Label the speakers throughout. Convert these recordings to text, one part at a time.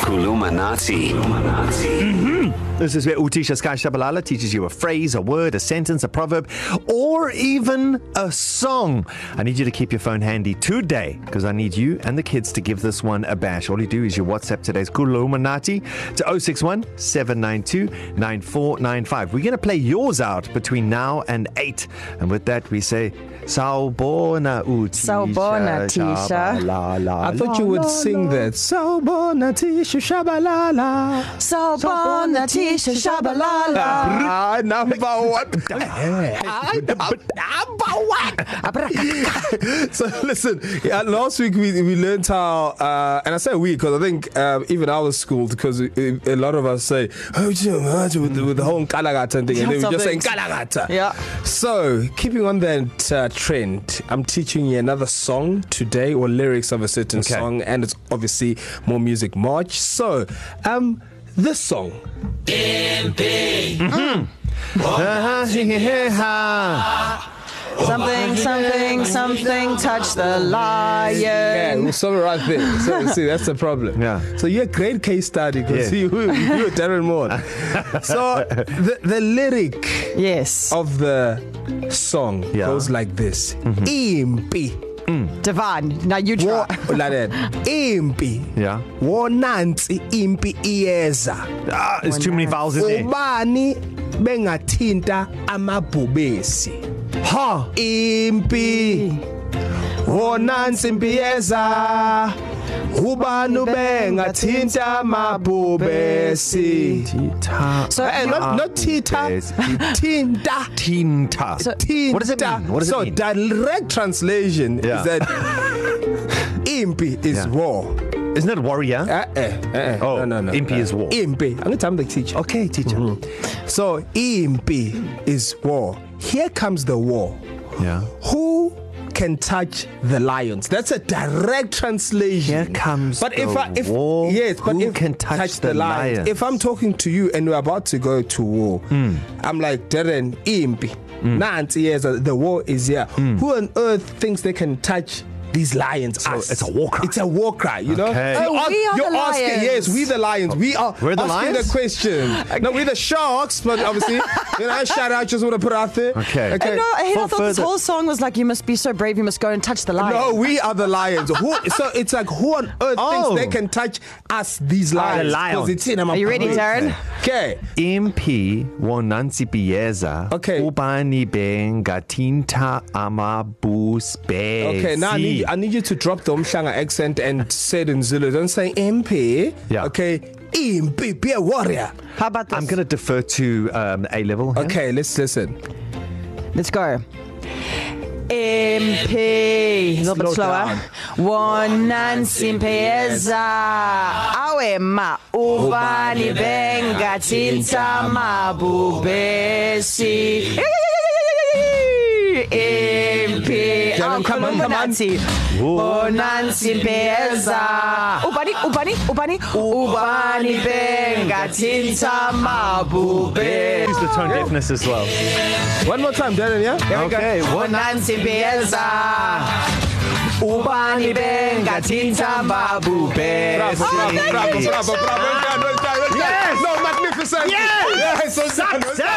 Speaker 1: Kulumanati.
Speaker 2: This is where Utisha Sky Shabalala teaches you a phrase, a word, a sentence, a proverb, or even a song. I need you to keep your phone handy today because I need you and the kids to give this one a bash. All you do is you WhatsApp today's Kulumanati to 061 792 9495. We're going to play yours out between now and 8. And with that, we say, Saubona Utisha.
Speaker 3: Sawubona, Tisha.
Speaker 2: Shabalala.
Speaker 4: I thought you would sing that. So bonatisha shabalala.
Speaker 3: So born the Tisha Shabalala.
Speaker 4: Ah, number one. so listen, yeah, last week we, we learned how, uh, and I say we because I think um, even I was schooled because a a lot of us say, oh, Jim, oh, Jim," with, the, with the whole Kalagata thing, and then we just saying Kalagata.
Speaker 3: Yeah.
Speaker 4: So, keeping on that uh, trend, I'm teaching you another song today or lyrics of a certain
Speaker 2: Okay.
Speaker 4: okay. song, and it's obviously more Music March. So, um, this song.
Speaker 2: Uh-huh.
Speaker 3: Something, something, something touch the lion.
Speaker 4: Yeah, we saw it right there. So, see, that's the problem.
Speaker 2: Yeah.
Speaker 4: So you're a great case study because
Speaker 2: Yeah.
Speaker 4: you, you, you're Darren Moore. so the, the lyric
Speaker 3: Yes.
Speaker 4: of the song
Speaker 2: Yeah. Mm-hmm.
Speaker 4: yeah. goes like this: Impi,
Speaker 3: Divine. Now you
Speaker 4: wo,
Speaker 3: try.
Speaker 4: like that. Impi,
Speaker 2: Yeah.
Speaker 4: wonansi impi iyeza.
Speaker 2: Ah, there's too many vowels in there.
Speaker 4: Ubani bengathinta amabhubesi.
Speaker 2: Ha!
Speaker 4: impi wonansi impiyeza ubani ubengathinta mabhubesi
Speaker 3: So,
Speaker 4: Eh, not, not thitha thinta
Speaker 2: Tinta.
Speaker 4: thinta
Speaker 2: What does it mean? What does
Speaker 4: so
Speaker 2: it mean?
Speaker 4: direct translation
Speaker 2: Yeah.
Speaker 4: is that impi is
Speaker 2: Yeah.
Speaker 4: yeah. war
Speaker 2: Isn't it warrior?
Speaker 4: eh, eh, eh.
Speaker 2: Oh,
Speaker 4: no, no, no.
Speaker 2: impi is war.
Speaker 4: impi i'm going to the Uh, teacher
Speaker 2: Okay, teacher.
Speaker 4: mm-hmm. so impi is war here comes the war
Speaker 2: Yeah.
Speaker 4: Who can touch the lions? That's a direct
Speaker 2: Here
Speaker 4: translation.
Speaker 2: comes
Speaker 4: but if
Speaker 2: the
Speaker 4: I, if,
Speaker 2: war.
Speaker 4: Yes, but
Speaker 2: Who
Speaker 4: if
Speaker 2: can touch the lions? Hmm.
Speaker 4: If I'm talking to you and we're about to go to war, mm. I'm like Darren Impi. Mm. Nancy, yes, uh, the war is here.
Speaker 2: Hmm.
Speaker 4: Mm. Who on earth thinks they can touch? These lions. So
Speaker 2: it's a war cry.
Speaker 4: It's a war cry, you know?
Speaker 2: Okay. Oh,
Speaker 4: You ask-
Speaker 3: we are
Speaker 4: you're
Speaker 3: the
Speaker 4: asking,
Speaker 3: lions.
Speaker 4: Yes, we the lions. We are
Speaker 2: We're the
Speaker 4: asking
Speaker 2: lions?
Speaker 4: the question. okay. No, we're the sharks, but obviously, you know, shout out, just want to put out there.
Speaker 2: Okay.
Speaker 3: I know, I,
Speaker 2: For
Speaker 3: I thought this
Speaker 2: further-
Speaker 3: whole song was like, you must be so brave, you must go and touch the lion.
Speaker 4: No, we are the lions. Who, so it's like who on earth
Speaker 2: Oh. Ah,
Speaker 4: oh. thinks they can touch us, these lions? 'Cause
Speaker 2: lions.
Speaker 4: It's in our
Speaker 3: Are you ready,
Speaker 4: place.
Speaker 3: Darren?
Speaker 4: Okay.
Speaker 2: Impi wonansi bieza.
Speaker 4: Okay.
Speaker 2: Ubani benga tinta amabus be.
Speaker 4: Okay, now I need, you- I need you to drop the Umshanga accent and say it in Zulu. Don't say MP.
Speaker 2: Yeah.
Speaker 4: Okay. MP, be a warrior.
Speaker 3: How about this?
Speaker 2: I'm going to defer to um, A level. Here.
Speaker 4: Okay, let's listen.
Speaker 3: Let's go. MP. A little bit
Speaker 4: Slow
Speaker 3: slower.
Speaker 4: down.
Speaker 3: One Nancy Mpeza. Awe ma ubani benga tinta mabubesi. MP.
Speaker 4: Darren, come on, come on.
Speaker 3: Oh, Nancy. Bonansi Mpeza. Ubani, ubani, ubani. Ubani benga tinta mabubesi.
Speaker 2: Use the tone deafness as well.
Speaker 4: One more time, Darren, yeah? yeah.
Speaker 2: Okay, one.
Speaker 3: Nancy Bielsa Ubani benga tinta babu
Speaker 4: Bravo,
Speaker 2: Oh,
Speaker 4: Oh, bravo, bravo, bravo, bravo. Well done, well done, well done.
Speaker 2: Yes.
Speaker 4: No, magnificent.
Speaker 2: Yes.
Speaker 4: Yes, well done, well done. Yes, yes,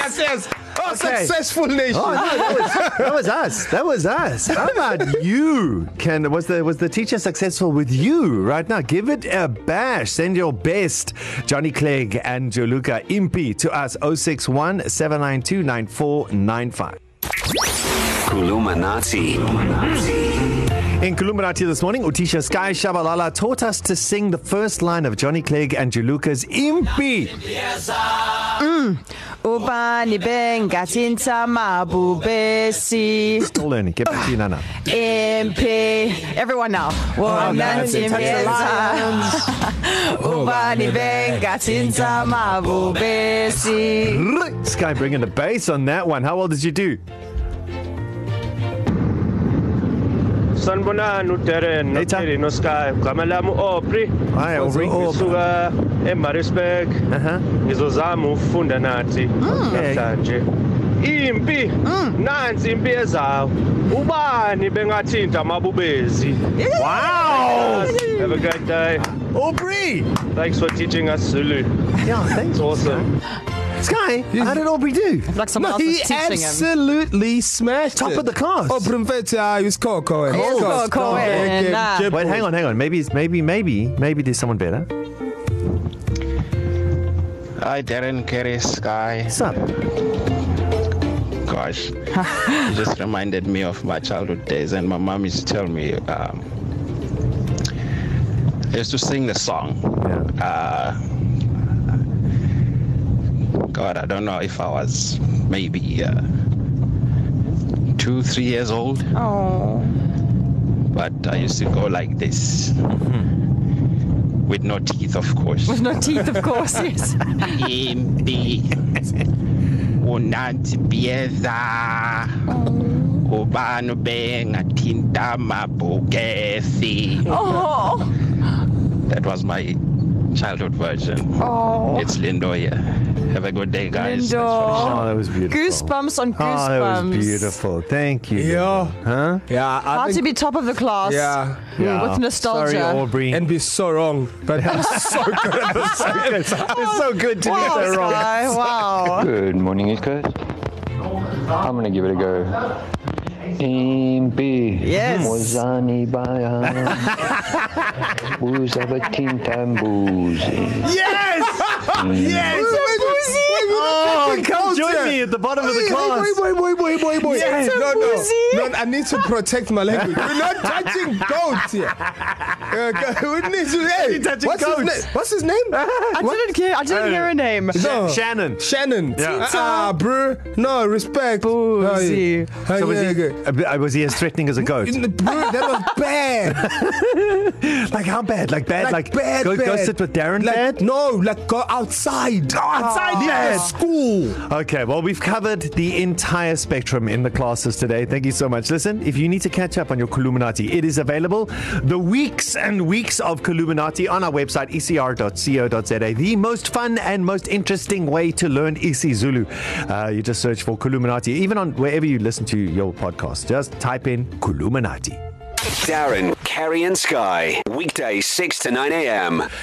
Speaker 4: yes, yes. Oh,
Speaker 2: Okay.
Speaker 4: successful nation.
Speaker 2: Oh, no, that, was, that was us. That was us. How about you? Can was the was the teacher successful with you right now? Give it a bash. Send your best, Johnny Clegg and Joluka Impy to us 061 792 9495.
Speaker 1: Kulumanati.
Speaker 2: In Kulumanati this morning, Utisha Sky Shabalala taught us to sing the first line of Johnny Clegg and Joluka's Impy.
Speaker 3: Ubani benga tinta mabu besi
Speaker 2: Still learning. Get back to you, Nana.
Speaker 3: MP Everyone now
Speaker 4: Oh,
Speaker 3: One Nancy Bielsa
Speaker 4: Oh,
Speaker 3: Ubani benga tinta mabu besi
Speaker 2: Sky bringing the bass on that one. How well did you do?
Speaker 5: sanibonani uderen
Speaker 2: Hey, Tan.
Speaker 5: noteri nosky gama lami u-opri
Speaker 2: Hi, Aubrey.
Speaker 5: ngisuka emarisburg
Speaker 2: Uh huh.
Speaker 5: ngizozama ukufunda nathi namhlanje impi nansi impi ezayo ubani bengathinta amabubezi
Speaker 2: Wow!
Speaker 5: have a great day
Speaker 2: Aubrey!
Speaker 5: thanks for teaching us Zulu
Speaker 2: Yeah, thanks.
Speaker 5: it's awesome
Speaker 2: Sky, how did Aubrey do?
Speaker 1: Like someone
Speaker 4: No,
Speaker 1: else was
Speaker 4: he
Speaker 1: teaching him.
Speaker 4: absolutely smashed
Speaker 2: Top
Speaker 4: it.
Speaker 2: of the class.
Speaker 4: Oh, Brumfetti, I use Coco. and-
Speaker 1: Yes,
Speaker 4: Coco,
Speaker 1: Coco,
Speaker 4: and-
Speaker 1: nah.
Speaker 4: Jeb-
Speaker 2: Wait, hang on, hang on. Maybe, it's- maybe, maybe, maybe there's someone better.
Speaker 6: I didn't get it, Sky.
Speaker 2: What's up?
Speaker 6: Gosh, you just reminded me of my childhood days, and my mom used to tell me, um, I used to sing the song.
Speaker 2: Yeah.
Speaker 6: Uh, God, I don't know if I was maybe uh, two, three years old,
Speaker 1: Oh,
Speaker 6: but I used to go like this. With no teeth, of course.
Speaker 1: with no teeth, of course. Yes.
Speaker 6: impi unandibieza
Speaker 1: Oh.
Speaker 6: ubani bengathinta amabhokesi
Speaker 1: Oh,
Speaker 6: that was my childhood version
Speaker 1: oh.
Speaker 6: it's lindo here have a good day guys Thanks for the
Speaker 1: Lindo.
Speaker 6: show.
Speaker 2: Oh, that was beautiful.
Speaker 1: Goosebumps on
Speaker 4: Ah,
Speaker 2: Oh, that
Speaker 1: goosebumps.
Speaker 2: was beautiful. Thank you.
Speaker 4: Yeah.
Speaker 2: Huh?
Speaker 4: Yeah,
Speaker 1: How
Speaker 4: I
Speaker 1: to
Speaker 4: think,
Speaker 1: be top of the class. Hmm,
Speaker 4: yeah,
Speaker 1: With nostalgia.
Speaker 2: Sorry, Aubrey.
Speaker 4: and be so wrong, but so good at the same time.
Speaker 2: it's so good to
Speaker 1: Wow,
Speaker 2: be so wrong.
Speaker 1: Sky, wow.
Speaker 7: Good morning, it guys. I'm gonna give it a go. Impi.
Speaker 3: Yes.
Speaker 7: Mozani baya. Uzabathinta mbuzi.
Speaker 2: Yes! yes!
Speaker 4: Oh,
Speaker 2: Oh, come join me at the bottom of the class.
Speaker 4: Wait, wait, wait, wait, wait, wait.
Speaker 2: Yes.
Speaker 4: No, no, no. I need to protect my language. We're not touching goats here. Okay, we need to. Hey,
Speaker 2: touching
Speaker 4: what's, his
Speaker 2: goats.
Speaker 4: name? what's his name?
Speaker 1: I didn't hear. I didn't hear a name.
Speaker 4: No.
Speaker 2: Shannon.
Speaker 4: Shannon.
Speaker 2: Yeah.
Speaker 4: Ah, bro. No respect.
Speaker 1: Boozy.
Speaker 4: Hey,
Speaker 2: So was
Speaker 4: yeah,
Speaker 2: he,
Speaker 4: good.
Speaker 2: uh, was he as threatening as a goat?
Speaker 4: In the- Bro, that was bad.
Speaker 2: Like how bad? Like bad? Like,
Speaker 4: bad,
Speaker 2: Go,
Speaker 4: bad.
Speaker 2: go sit with Darren.
Speaker 4: like,
Speaker 2: bad?
Speaker 4: No, like go outside. Go outside. Leave the
Speaker 2: bad.
Speaker 4: school.
Speaker 2: Okay, well, we've covered the entire spectrum in the classes today. Thank you so much. Listen, if you need to catch up on your Columinati, it is available. The weeks and weeks of Columinati on our website, E ecr.co.za. The most fun and most interesting way to learn EC Zulu. Uh, you just search for Columinati, even on wherever you listen to your podcast. Just type in Columinati.
Speaker 8: Darren, Kerry, and Sky. Weekdays 6 to 9 a.m.